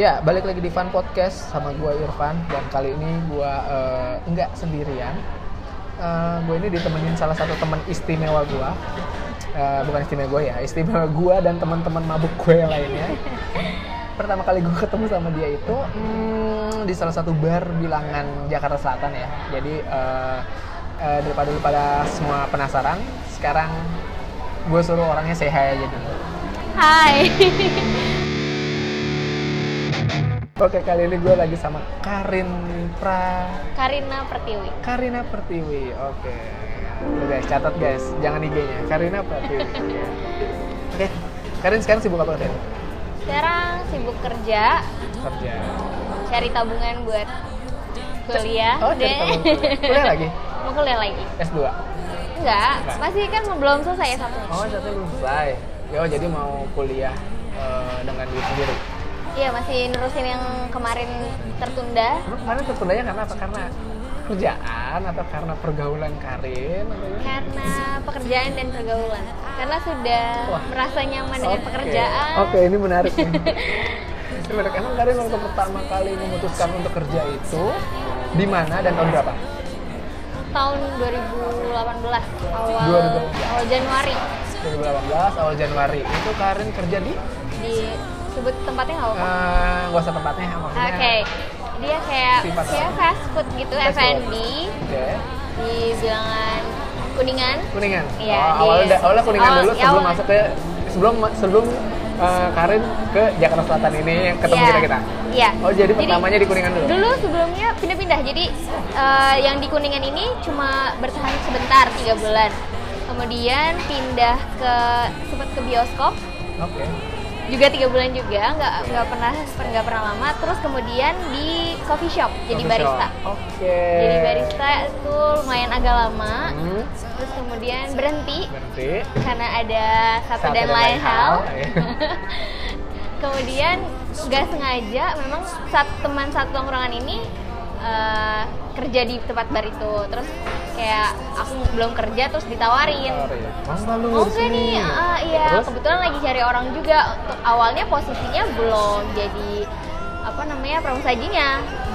Ya, balik lagi di Fan Podcast sama gue Irfan dan kali ini gue eh, nggak sendirian. Eh, gue ini ditemenin salah satu teman istimewa gue. Eh, bukan istimewa gue ya, istimewa gue dan teman-teman mabuk gue lainnya. Pertama kali gue ketemu sama dia itu hmm, di salah satu bar bilangan Jakarta Selatan ya. Jadi eh, eh, daripada daripada semua penasaran, sekarang gue suruh orangnya say hi aja dulu. Hai. Oke, kali ini gue lagi sama Karin Pra Karina Pertiwi. Karina Pertiwi, oke. Tuh guys, catat guys, jangan IG-nya. Karina Pertiwi. oke. Karin sekarang sibuk apa Karin? Sekarang sibuk kerja, Kerja. cari tabungan buat kuliah. Oh, cari deh. tabungan kuliah. Kuliah lagi? mau kuliah lagi? S2. Enggak, masih kan belum selesai satu. Oh, satu belum selesai. Yo, jadi mau kuliah eh, dengan diri sendiri. Iya, masih nerusin yang kemarin tertunda. Emang kemarin tertundanya karena apa? Karena kerjaan atau karena pergaulan Karin atau gimana? Karena pekerjaan dan pergaulan. Karena sudah Wah. merasa nyaman dengan Oke. pekerjaan. Oke, ini menarik. nih. ini menarik. Emang Karin waktu pertama kali memutuskan untuk kerja itu di mana dan tahun berapa? Tahun 2018. 2018 awal awal Januari 2018 awal Januari itu Karin kerja di di sebut tempatnya nggak apa-apa. eh, nggak usah tempatnya maksudnya Oke, dia kayak Sifat kayak apa? fast food gitu Fast food. F&B Oke. di bilangan kuningan. kuningan Iya, oh, awalnya di- da- awalnya kuningan awal- dulu iya, sebelum awal. masuk ke sebelum sebelum eh, Karin ke Jakarta Selatan ini yang ketemu Iya. kita kita Iya. Oh, jadi pertamanya di Kuningan dulu? Dulu sebelumnya pindah-pindah. Jadi eh, yang di kuningan ini cuma bertahan sebentar tiga bulan. Kemudian pindah ke sempat ke bioskop oke juga tiga bulan juga nggak nggak pernah nggak pernah lama. Terus kemudian di coffee shop jadi Coffee barista. shop. oke Jadi barista itu lumayan agak lama. hmm, Terus kemudian berhenti berarti karena ada satu, dan, lain hal. Iya. Kemudian nggak sengaja memang saat teman satu tongkrongan ini eh, kerja di tempat bar itu. Terus kayak aku belum kerja terus ditawarin. mau nggak lu di Mau nggak sini? Iya. nih? Ah, iya, Terus? kebetulan lagi cari orang juga. Untuk awalnya posisinya belum jadi apa namanya pramusajinya.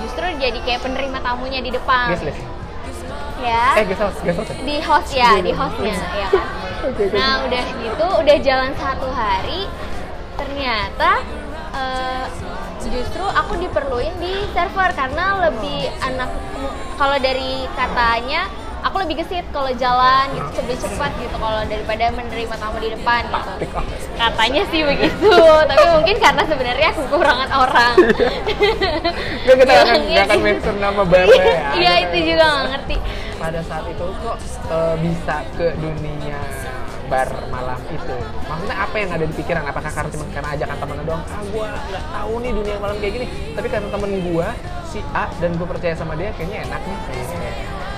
Justru jadi kayak penerima tamunya di depan. guest list Ya eh guest house guest house ya? di host ya di hostnya ya kan nah udah gitu udah jalan satu hari ternyata eh, justru aku diperluin di server karena lebih anak kalau dari katanya aku lebih gesit kalau jalan gitu lebih cepat gitu kalau daripada menerima tamu di depan gitu Pick up. katanya sih begitu tapi mungkin karena sebenarnya aku kekurangan orang Nggak, kita nggak akan, Bilangnya nggak akan gitu. mention nama barnya ya iya Kita- itu juga nggak ngerti pada saat itu kok eh, bisa ke dunia bar malam itu? Maksudnya apa yang ada di pikiran? Apakah karena cuma karena ajakan temen doang? Ah gue nggak tahu nih dunia malam kayak gini. Tapi karena temen gue si A dan gue percaya sama dia kayaknya Eh, enak nih.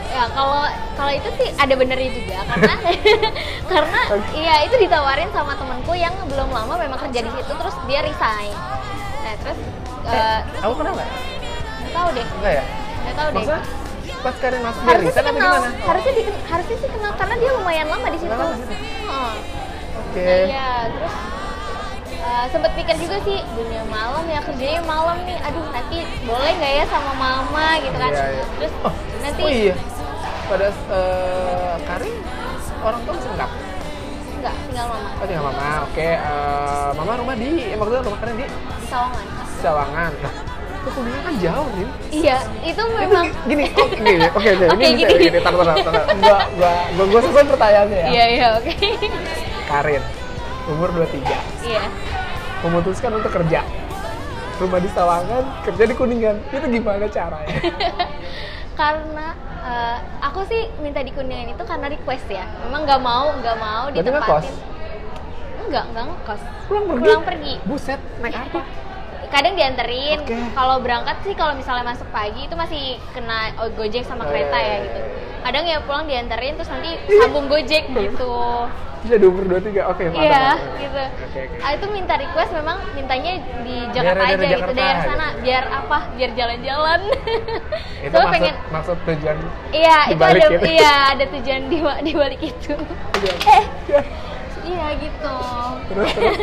ya kalau kalau itu sih ada benernya juga karena karena iya itu ditawarin sama temanku yang belum lama memang kerja di situ terus dia resign nah terus eh, Kamu kenal nggak? nggak tahu deh Enggak ya? nggak tahu deh Maksudnya pas Karin masuk dia harusnya resign sih apa kenal gimana? harusnya diken- harusnya sih kenal karena dia lumayan lama di situ Lumayan lama di Heeh. Oke. Nah, iya terus eh, sempet pikir juga sih dunia malam ya kerjanya malam nih aduh nanti boleh nggak ya sama mama gitu kan Iya, iya. terus Oh, nanti Oh iya. Pada eh, Karin orang tua masih enggak? nggak tinggal mama Oh tinggal mama, oke. Eh, mama rumah di, eh, maksudnya rumah Karin di di Sawangan Sawangan. Nah, kok kuliah kan jauh, Rin? Iya, itu memang. Gini, oh, gini, oke, oke, Oke, ini bisa, gini. gini, tar, tar, tar, tar. Gua, gua, gua, gua susun pertanyaannya ya. Iya, iya, oke. Karin, umur 23, Iya. memutuskan untuk kerja. Rumah di Sawangan, kerja di Kuningan. Itu gimana caranya? Karena eh, aku sih minta di kuningan itu karena request ya. Memang nggak mau, nggak mau Berarti ditempatin. ngekos? Enggak, enggak ngekos. Pulang pergi? Pulang pergi. Buset, naik apa? Kadang dianterin. Oke. Kalau berangkat sih kalau misalnya masuk pagi itu masih kena Gojek sama Oh, kereta iya, iya, ya gitu. iya. Kadang ya pulang dianterin terus nanti sambung Gojek gitu. Terus ada umur 23, oke, mantap, Iya, mantap. gitu. Oke, oke. Ah, itu minta request memang mintanya di Jakarta Daerah-daerah aja gitu, Jakarta daerah aja. sana, biar apa? Biar jalan-jalan. Itu Soalnya maksud, pengen maksud tujuan Iya, itu ada dibalik gitu. itu. iya, ada tujuan di wa- di balik itu. eh, iya gitu. terus terus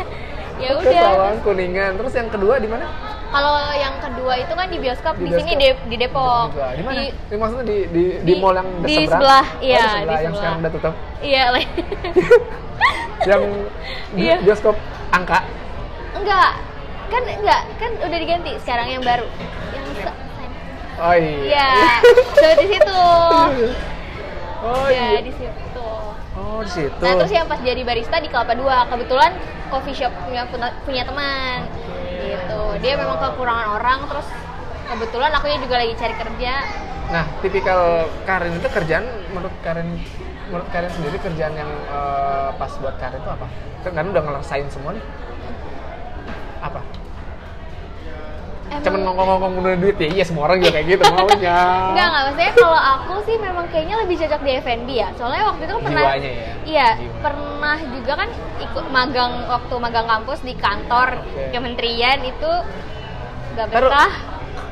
ya ke udah. Ya Sawangan Kuningan. Terus yang kedua di mana? Kalau yang kedua itu kan di bioskop Di di, sini bioskop. di, di Depok. Juga. Di mana? Oh, Di- Di- maksudnya di di, di, di- mall yang di seberang? sebelah, Oh, iya, di sebelah di yang sebelah. sekarang udah tutup. Iya, Le. Yang di Iya. bioskop angka. enggak. Kan enggak, kan udah diganti sekarang yang baru. Yang se- Oh iya. Iya, so di situ. Oh iya. Ya, di situ. Oh di situ. Nah, terus yang pas jadi barista di Kelapa Dua, kebetulan coffee shop punya punya teman. Gitu. Dia memang kekurangan orang terus kebetulan aku juga lagi cari kerja. Nah, tipikal Karin itu kerjaan menurut Karin menurut Karin sendiri kerjaan yang eh, pas buat Karin itu apa? Kan Karin udah ngerasain semua nih. Apa? Emang- Cuman ngomong-ngomong menurut duit ya, iya semua orang juga kayak gitu maunya. Enggak, enggak. Maksudnya kalau aku sih memang kayaknya lebih cocok di F&B ya. Soalnya waktu itu kan pernah... Jiwanya ya. Iya, Jiwa. pernah juga kan ikut magang waktu magang kampus di kantor Oke. kementerian itu nggak Taruh. betah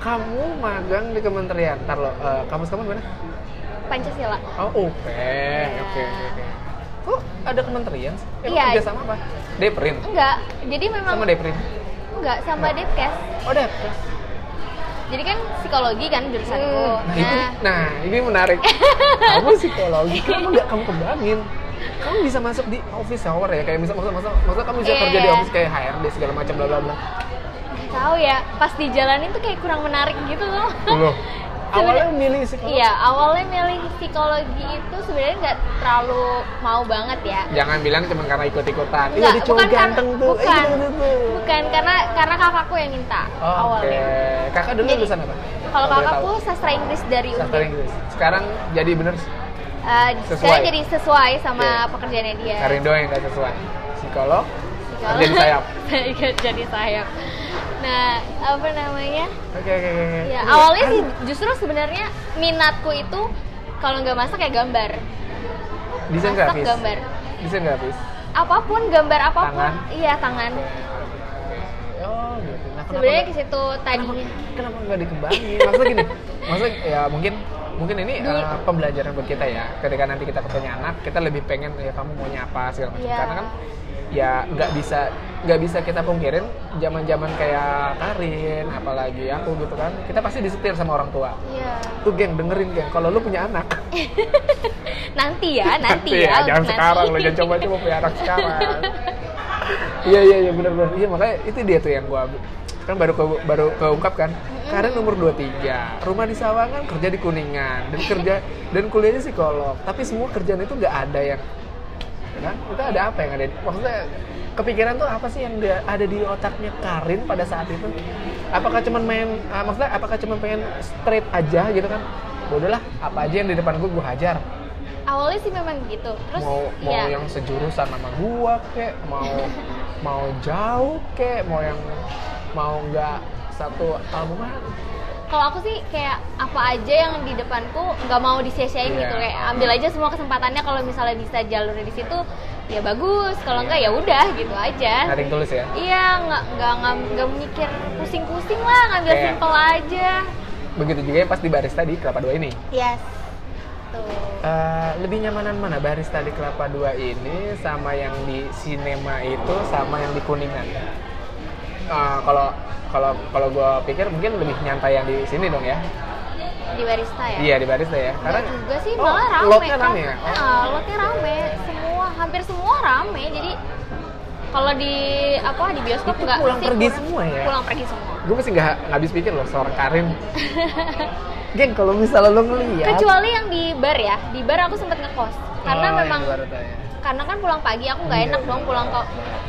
Kamu magang di kementerian. Ntar lo, eh, kampus kamu di mana? Pancasila. Oh, UP. Oke, oke, oke. Kok ada kementerian? sih? Emang Iya. kerja sama apa? Deprim. Enggak. Jadi memang Sama Deprim. enggak sama Enggak. Depkes. Oh, Deprim. Jadi kan psikologi kan jurusanku. Hmm, Nah, itu, Nah, nah, ini menarik. kamu psikologi, kenapa nggak kamu kembangin? Kamu bisa masuk di office hour ya, kayak misal, maksud, maksud, maksud kamu bisa Iya, kerja di iya. office kayak HRD segala macam bla bla bla. nggak tahu ya, pas dijalanin tuh kayak kurang menarik gitu loh. Loh, awalnya milih psikologi. Iya, awalnya milih psikologi itu sebenarnya nggak terlalu mau banget ya. Jangan bilang cuma karena ikut ikutan. Iya, Nggak, ada cowok karena- ganteng tuh. Eh, bukan, gitu, gitu, tuh. bukan karena karena kakakku yang minta Oh, Oke, awalnya. kakak dulu Jadi, lulusan apa? Kalau boleh kakakku tahu. sastra Inggris dari sastra UNJ. Inggris. Sekarang jadi bener Eh, Sesuai. Iya. sekarang jadi sesuai sama Oke. pekerjaannya dia. Karindo yang nggak sesuai. Psikolog, Kalau- jadi sayap. Iya, jadi sayap. Nah, apa namanya? Oke oke oke. oke. Ya, Iya, awalnya kan sih justru sebenarnya minatku itu kalau nggak masak ya gambar. desain masak grafis. gambar. Desain grafis. Apapun gambar apapun. Tangan. Iya, tangan. Oh gitu. Nah, kenapa Sebenarnya ke nggak- situ tadinya. kenapa nggak dikembangin? Maksudnya gini, maksudnya ya mungkin mungkin ini Dulu- eh, pembelajaran buat kita ya. Ketika nanti kita ketemu anak, kita lebih pengen ya kamu maunya apa segala macam. Iya. Karena kan ya nggak bisa nggak bisa kita pungkirin zaman-zaman kayak Karin, apalagi aku gitu kan. Kita pasti disetir sama orang tua. Iya. Tuh geng dengerin geng, kalau lu punya anak. Nanti ya, nanti ya. Iya, jangan nanti. sekarang lo jangan coba-coba punya anak sekarang. Iya iya iya benar-benar. Iya makanya itu dia tuh yang gua kan baru ke, baru keungkap kan. Karen nomor 23, rumah di Sawangan, kerja di Kuningan, dan kerja dan kuliahnya psikolog. Tapi semua kerjaan itu nggak ada yang ya kan? Itu ada apa yang ada? di- Maksudnya kepikiran tuh apa sih yang dia- ada di otaknya Karin pada saat itu? Apakah cuman main ah, maksudnya apakah cuman pengen straight aja gitu kan? Bodoh lah, apa aja yang di depan gue gue hajar Awalnya sih memang gitu. Terus mau mau ya. yang sejurusan sama gua kek mau mau jauh kek mau yang mau nggak satu albuman Kalau aku sih kayak apa aja yang di depanku nggak mau disia-siain Iya. gitu kayak ambil aja semua kesempatannya kalau misalnya bisa jalurnya di situ ya bagus, kalau Iya. nggak ya udah gitu aja. naring tulis ya Iya, nggak nggak ngam- nggak mikir pusing-pusing lah, ngambil Kayak- simple aja. begitu juga yang pas di barista di kelapa dua ini Yes. Tuh. Eh, lebih nyamanan mana barista di kelapa dua ini sama yang di sinema itu sama yang di kuningan Eh, kalau kalau kalau gua pikir mungkin lebih nyantai yang di sini dong ya Di barista ya. iya di barista ya Karena karena juga sih Oh, malah rame. lotnya kan. rame ya? Oh. Nah, lotnya rame. Semua hampir semua rame. Jadi kalau di apa di bioskop Itu nggak pulang sih, pergi kurang- semua ya? Pulang pergi semua. gue masih nggak nggak habis pikir loh seorang Karin geng kalau misalnya lo ngeliat Kecuali yang di bar ya. Di bar aku sempet ngekos. Karena Oh, yang memang baru tahu ya. karena kan pulang pagi aku nggak Iya, enak dong iya. pulang ke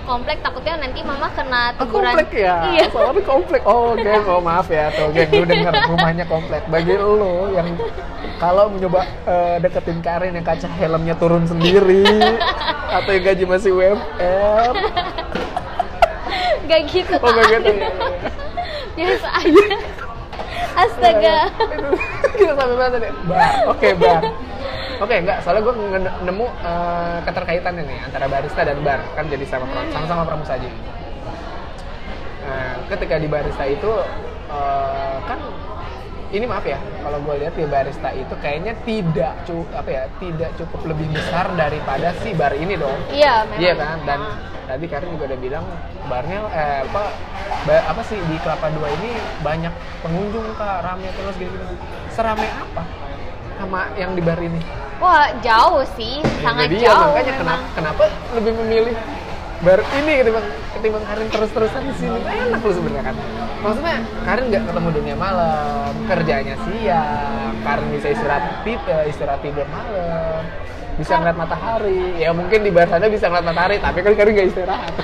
komplek takutnya nanti mama kena Oh, teguran. komplek ya? Iya. Soalnya komplek. Oh, geng, oh maaf ya. Tuh, geng, lu denger rumahnya komplek. Bagi lo yang kalau mencoba eh, deketin Karin yang kaca helmnya turun sendiri atau yang gaji masih UMR. Gak gitu. Oh, gak gitu. ya. Biasa aja. Astaga. Kita sampai mana deh? Bar. Oke, bar. Oke, enggak. Soalnya gue nemu eh, keterkaitannya nih antara barista dan bar. Kan jadi sama sama-sama pramusaji. Nah, ketika di barista itu eh, kan ini maaf ya, kalau gue lihat di barista itu kayaknya tidak cu apa ya, tidak cukup lebih besar daripada si bar ini dong. Iya, memang. Iya kan? Dan Nah, tadi Karin juga udah bilang barnya eh, apa ba- apa sih di Kelapa Dua ini banyak pengunjung kak rame terus gitu, -gitu. serame apa sama yang di bar ini Wah, jauh sih, sangat Jadi ya, makanya jauh memang. kenapa kenapa lebih memilih bar ini ketimbang ketimbang Karin terus-terusan di sini enak loh sebenarnya kan maksudnya Karin nggak ketemu dunia malam kerjanya siang Karin bisa istirahat tidur istirahat tidur malam bisa ngeliat matahari ya mungkin di bar sana bisa ngeliat matahari tapi kan Karin nggak istirahat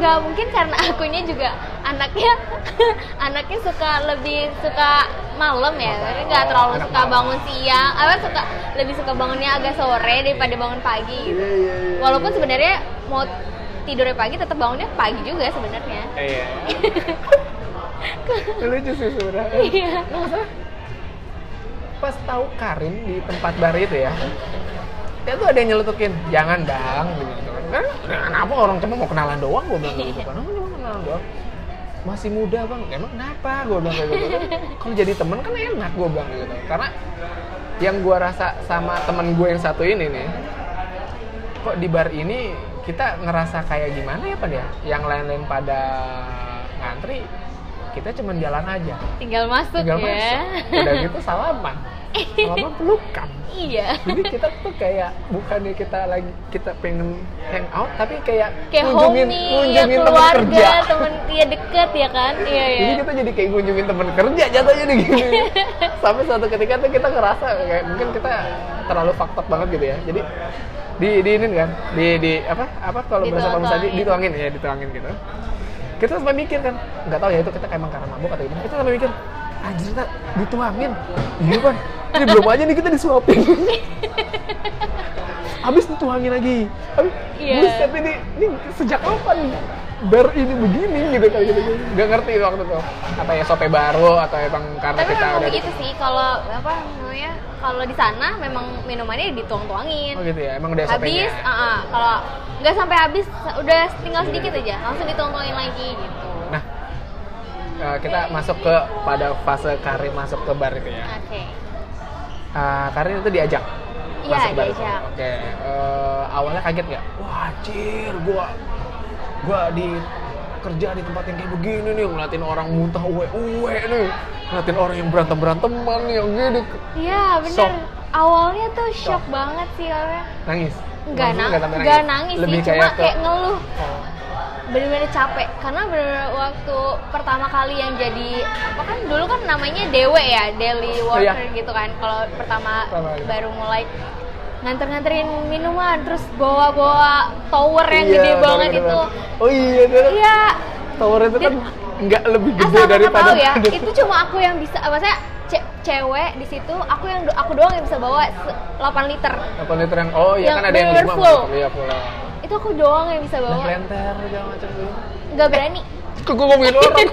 nggak mungkin karena akunya juga anaknya anaknya suka lebih suka malam ya tapi nggak terlalu Anak suka malam. bangun siang apa suka lebih suka bangunnya agak sore daripada bangun pagi gitu Iya. walaupun sebenarnya mau tidurnya pagi tetap bangunnya pagi juga sebenarnya iya lucu sih sebenarnya iya pas tahu Karin di tempat bar itu ya dia tuh ada yang nyelutukin jangan bang gitu kan "Kan, kenapa orang cuma mau kenalan doang gue bilang gitu kan "Orang cuma kenalan doang masih muda bang emang kenapa gue bilang kayak gitu kan kalau jadi temen kan enak gue bilang gitu karena yang gue rasa sama temen gue yang satu ini nih kok di bar ini kita ngerasa kayak gimana ya pada yang lain-lain pada ngantri kita cuman jalan aja tinggal masuk tinggal ya masuk udah gitu salaman salaman pelukan iya jadi kita tuh kayak bukannya kita lagi kita pengen hang out tapi kayak kayak kunjungin homie ya temen kerja keluarga temen ya deket ya kan iya jadi iya kita jadi kayak kunjungin temen kerja jatuhnya nih gini sampai suatu ketika tuh kita ngerasa kayak mungkin kita terlalu faktor banget gitu ya jadi di di ini kan di di apa apa kalau bahasa kamu tadi Dituang-tuangin. dituangin ya dituangin gitu kita sampai mikir kan nggak tahu ya itu kita emang karena mabuk atau gimana kita sampai mikir anjir kita dituangin iya kan ini belum aja nih kita disuapin habis dituangin lagi habis Iya. buset ini ini sejak kapan bar ini begini gitu kali gitu nggak ngerti waktu itu apa ya sope baru atau emang karena tapi gitu kita memang udah begitu sih kalau apa namanya kalau di sana memang minumannya dituang-tuangin oh gitu ya emang udah habis sopenya uh-uh, kalau nggak sampai habis udah tinggal sedikit aja langsung dituang-tuangin lagi gitu nah eh, kita masuk ke pada fase Karin masuk ke bar itu ya oke Ah, Karin itu diajak Iya, masuk bar itu. diajak. oke Eh, awalnya kaget nggak wah anjir gua gua di kerja di tempat yang kayak begini nih ngeliatin orang muntah uwe uwe nih ngeliatin orang yang berantem beranteman yang gini iya bener Shock. awalnya tuh shock Shock. banget sih karena nangis nggak Maksudnya nang sampai nggak nangis lebih sih cuma kayak, kayak, ke- ngeluh Oh. bener-bener capek karena bener-bener waktu pertama kali yang jadi apa kan dulu kan namanya dewe ya daily worker Iya. gitu kan kalau pertama Pertama kali. baru mulai nganter-nganterin minuman terus bawa-bawa tower yang Iya, gede tower banget gede itu banget. oh iya tower, iya tower itu kan nggak lebih gede asal kakak daripada tahu ya itu cuma aku yang bisa maksudnya ce- cewek di situ aku yang do- aku doang yang bisa bawa se- 8 liter apa liter yang oh iya Yang kan ada yang bener lima full. mungkin. iya full itu aku doang yang bisa nah bawa lenter segala macam gitu. tuh nggak berani kok gue ngomongin orang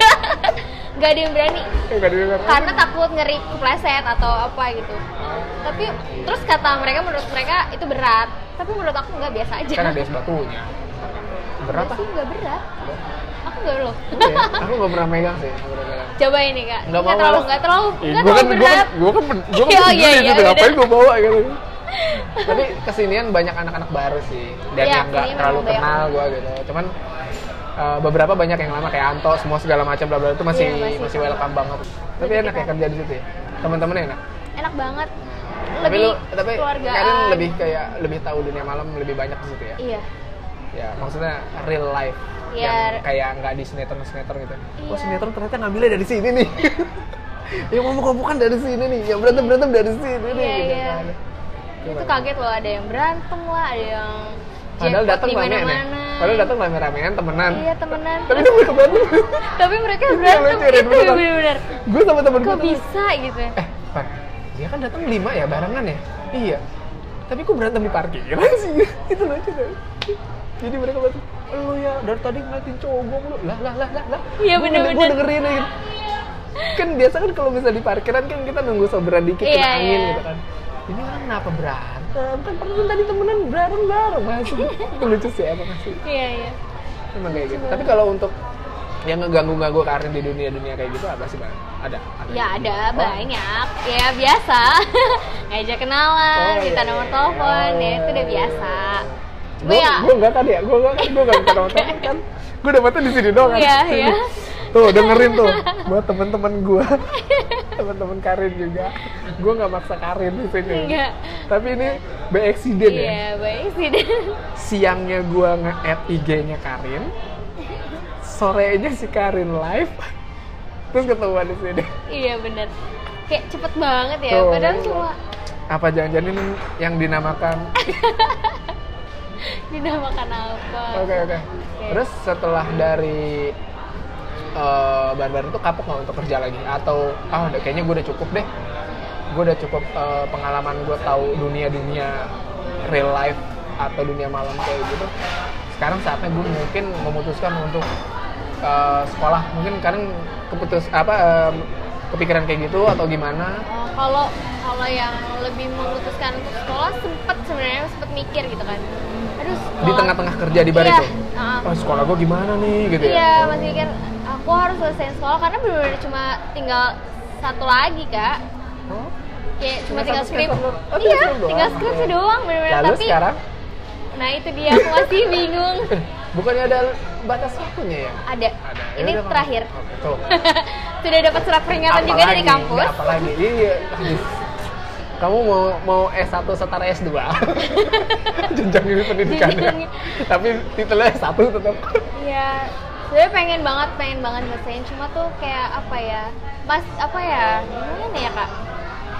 nggak ada yang berani Nggak didengar. karena takut ngeri kepleset atau apa gitu tapi terus kata mereka menurut mereka itu berat tapi menurut aku nggak biasa aja kan ada es batunya berat Nggak ah sih nggak berat aku nggak loh Oke, aku nggak pernah megang sih nggak pernah megang coba ini kak Nggak mau, terlalu malas. nggak terlalu Ih, nggak gua kan gue terlalu kan berat gue kan ben- gua kan Iya, peduli iya, iya, gitu ngapain bener. gue bawa gitu tapi kesinian banyak anak-anak baru sih dan Iya, yang nggak kesini terlalu memang banyak. kenal gue gitu cuman eh, beberapa banyak yang lama kayak Anto semua segala macam bla bla itu masih Iya, masih masih, welcome banget tapi Lebih enak ya kita- kerja di situ ya teman-temannya enak enak banget tapi lebih lu tapi keluargaan. kalian lebih kayak lebih tahu dunia malam lebih banyak di situ ya iya ya maksudnya real life yang Iya. kayak nggak di sinetron sinetron gitu Iya. oh sinetron ternyata ngambilnya dari sini nih ya ngomong bukan dari sini nih ya berantem berantem dari sini nih Iya, gitu iya. kan. itu Gimana? kaget loh ada yang berantem lah ada yang padahal jackpot datang di rame ya mana-mana. padahal datang rame ramean temenan iya temenan tapi dia mereka berantem tapi mereka Itu yang berantem lucu, Ren, gitu beneran. bener-bener gue sama temen gue kok bisa gitu ya eh Pan, dia kan datang lima ya barengan ya iya tapi kok berantem di parkiran sih itu lucu tuh jadi mereka berantem lu ya dari tadi ngeliatin cowok lu lah lah lah lah lah Iya, Gua bener-bener. denger- gua dengerin aja gitu. kan biasa kan kalau bisa di parkiran kan kita nunggu soberan dikit Iya, kena angin iya. gitu kan ini orang kenapa berantem kan padahal tadi temenan berantem bareng masih itu lucu sih emang sih iya iya emang kayak gitu tapi kalau untuk yang ngeganggu-ganggu Karin di dunia-dunia kayak gitu apa sih Bang? Ada? Ya ada Oh. banyak, ya biasa. Ngajak kenalan, Oh, minta iya, nomor iya. telepon, Oh. ya itu udah biasa. Gue Iya. gue enggak tadi ya, gue enggak kan, gue enggak minta nomor telepon kan. Gue dapetnya di sini doang kan. Iya, iya. Tuh dengerin tuh, buat temen-temen gue, temen-temen Karin juga. Gue nggak maksa Karin di sini. Enggak. Tapi ini by accident ya. Iya, baik sih. Siangnya gue nge-add IG-nya Karin, sorenya si Karin live, terus ketemuan di sini. Iya bener. Kayak cepet banget ya. Tuh. Padahal cuma Apa jangan-jangan ini yang dinamakan dinamakan apa? Oke oke. Terus setelah dari eh, bahan-bahan itu kapok nggak untuk kerja lagi? Atau ah udah kayaknya gue udah cukup deh. Gue udah cukup eh, pengalaman gue tahu dunia dunia real life atau dunia malam kayak gitu. Sekarang saatnya gue mungkin memutuskan untuk eh, sekolah. Mungkin kadang keputus apa eh, kepikiran kayak gitu atau gimana? Oh, kalau kalau yang lebih memutuskan untuk sekolah sempet sebenarnya sempet mikir gitu kan. Aduh, sekolah. Di tengah-tengah kerja di bar Oh. Iya, itu. heeh. Oh sekolah gue gimana nih gitu Iya, ya? masih mikir aku harus selesai sekolah karena benar-benar cuma tinggal satu lagi, Kak. Oh, Kayak cuma Cuma tinggal satu skrip. skripsi doang. Oh, Iya, tinggal skrip doang. tinggal skrip doang benar-benar Lalu tapi sekarang nah itu dia aku masih bingung. Eh, Bukannya ada batas waktunya ya? Ada. Ini Yaudah, terakhir. Oke, Tuh. Sudah dapat surat peringatan juga Apalagi, dari kampus. Apalagi iya. habis. Kamu mau mau S1 setara S2. Jenjang ini pendidikannya. Jenjang. Tapi titelnya S1 tetap. Iya, sebenarnya pengen banget, pengen banget ngerasain. Cuma tuh kayak apa ya, mas apa ya, gimana ya kak?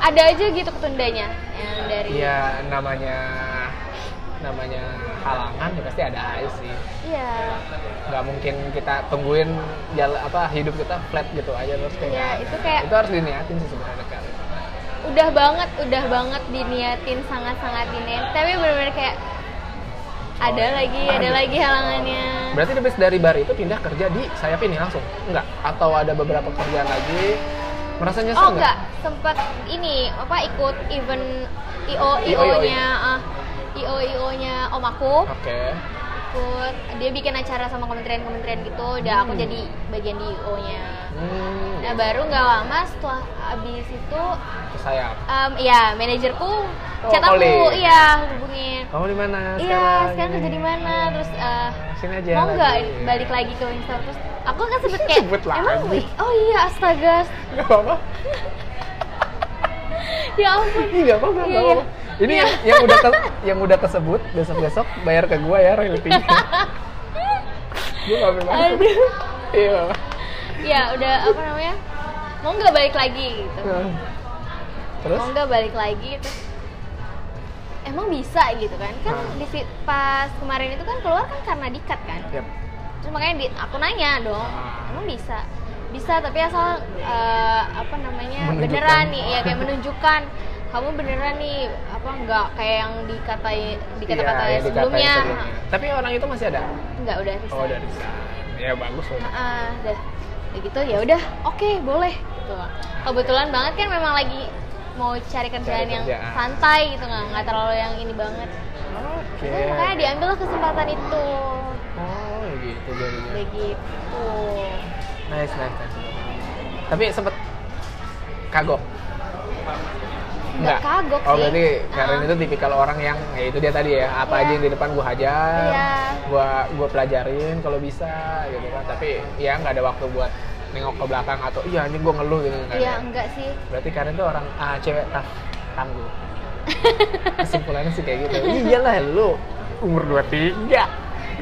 Ada aja gitu ketundanya yang dari. Iya, namanya namanya halangan ya pasti ada aja sih. Iya, Nggak mungkin kita tungguin jalan apa hidup kita flat gitu aja terus kayak. iya, itu kayak Itu harus diniatin sih sebenarnya kan. udah banget, udah banget diniatin, sangat-sangat diniatin. Tapi bener-bener kayak ada lagi, ada lagi halangannya. Berarti habis dari bar itu pindah kerja di sayap ini langsung? Enggak? Atau ada beberapa kerjaan lagi? Merasa nyesel Oh enggak, sempat ini apa ikut event IO IO nya IO IO nya om aku. Oke. ikut dia bikin acara sama kementerian-kementerian gitu udah Hmm. aku jadi bagian di IO nya Hmm, nah baru nggak lama setelah abis itu ke sayap. em, ya manajerku chat Oh, calling. aku iya hubungin Kamu di mana iya sekarang? sekarang kerja di mana terus eh, Sini aja. mau nggak lagi. balik lagi ke Wingstop terus aku kan sempet kayak Sebut lagi. emang Wing- oh iya astaga Nggak apa-apa. ya ampun Ini nggak apa-apa. nggak Iya. apa-apa. Ini yang, yang udah ke, yang udah kesebut besok-besok bayar ke gua ya royaltinya. gua nggak ambil masuk. Iya. aduh Iya. nggak apa-apa. ya udah apa namanya mau nggak balik lagi gitu Nah. Terus? mau nggak balik lagi terus emang bisa gitu kan kan Hah. di si- pas kemarin itu kan keluar kan karena dikat kan Yap. terus makanya di- aku nanya dong Ah. emang bisa bisa tapi asal eh, apa namanya Menunjukkan. beneran nih ya kayak menunjukkan kamu beneran nih apa nggak kayak yang dikatai dikata-kata Iya, yang dikatain sebelumnya, Tapi orang itu masih ada? nggak udah bisa Oh, dari sana. Ya bagus loh. Heeh, udah Udah gitu ya udah oke boleh gitu kebetulan banget kan memang lagi mau cari kerjaan yang kerjaan. santai gitu nggak nggak terlalu yang ini banget Oke. Terus makanya diambil lah kesempatan itu Oh, ya gitu jadinya. udah gitu Nice, nice, nice. Tapi sempet kagok. nggak kagok Oh, sih Ah. berarti Karen Heeh. itu tipikal orang yang ya itu dia tadi ya, apa Iya. aja yang di depan gua hajar, Iya. gua gua pelajarin kalau bisa gitu kan. Tapi ya nggak ada waktu buat nengok ke belakang atau iya anjing gua ngeluh gitu kan. iya enggak sih Berarti Karen tuh orang ah, cewek tah, tangguh. Kesimpulannya sih kayak gitu. Iyalah lu umur 23,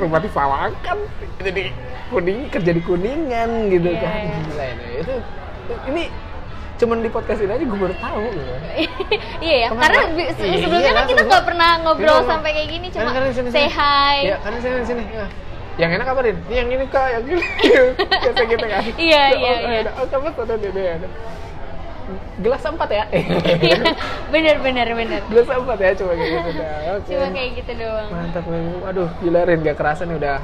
rumah di Sawakan, jadi kuning kerja di Kuningan gitu Iya, kan. iya. Gila itu. itu. Ini cuman di podcast ini aja gue baru tahu gitu. iya ya Kemarin- karena bi- se- Iya, sebelumnya kan kita langsung- nggak pernah ngobrol Iya. sampai kayak gini cuma Karen, Karen, sini, say sini. hi Ya, karena sini sini. Ya. Yang enak apa, Din? Ini yang ini, Kak, yang ini. Biasa gitu kan. Iya, Oh, iya, oh, iya. ada. Oh, kamu tuh ada, ada, ada. Gelas empat ya? Iya, bener bener bener Gelas empat ya, coba kayak gitu. dah. Oke. cuma kayak gitu doang Mantap, Bang. aduh gila Rin, gak kerasa nih udah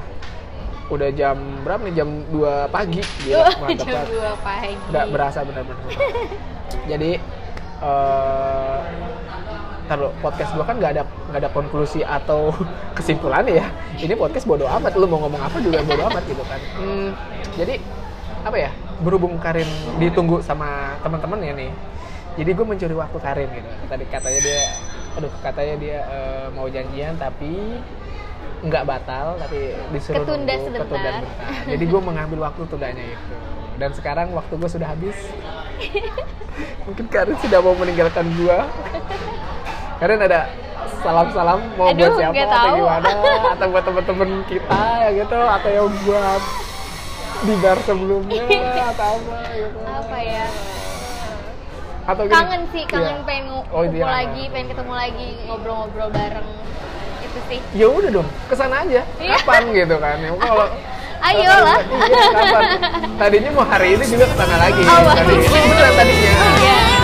udah jam berapa nih jam 2 pagi gila, Iya, mantap Oh, jam banget. dua pagi Nggak berasa bener-bener. Jadi eh ntar dulu, podcast gua kan nggak ada nggak ada konklusi atau kesimpulannya ya. Ini podcast bodo amat, lu mau ngomong apa juga bodo amat gitu kan. Hmm, jadi apa ya berhubung Karin ditunggu sama teman-teman ya nih. Jadi gue mencuri waktu Karin gitu. Tadi katanya dia, aduh katanya dia eh, mau janjian tapi nggak batal tapi disuruh Ketunda nunggu, sebentar. ketunda sebentar. Jadi gue mengambil waktu tundanya itu. Dan sekarang waktu gue sudah habis. Mungkin Karin sudah mau meninggalkan gue. Karin ada salam-salam mau buat Aduh, siapa nggak atau tahu. gimana atau buat temen-temen kita ya gitu atau yang buat di bar sebelumnya atau apa gitu. apa ya Atau Oh, gini, kangen sih kangen iya. pengen ngumpul Oh, iya. lagi pengen ketemu lagi ngobrol-ngobrol bareng itu sih ya udah dong kesana aja Iya. kapan gitu kan ya kalau Ayolah. Iya, kapan? tadinya mau hari ini juga kesana lagi Oh, wah. tadinya beneran tadinya Iya.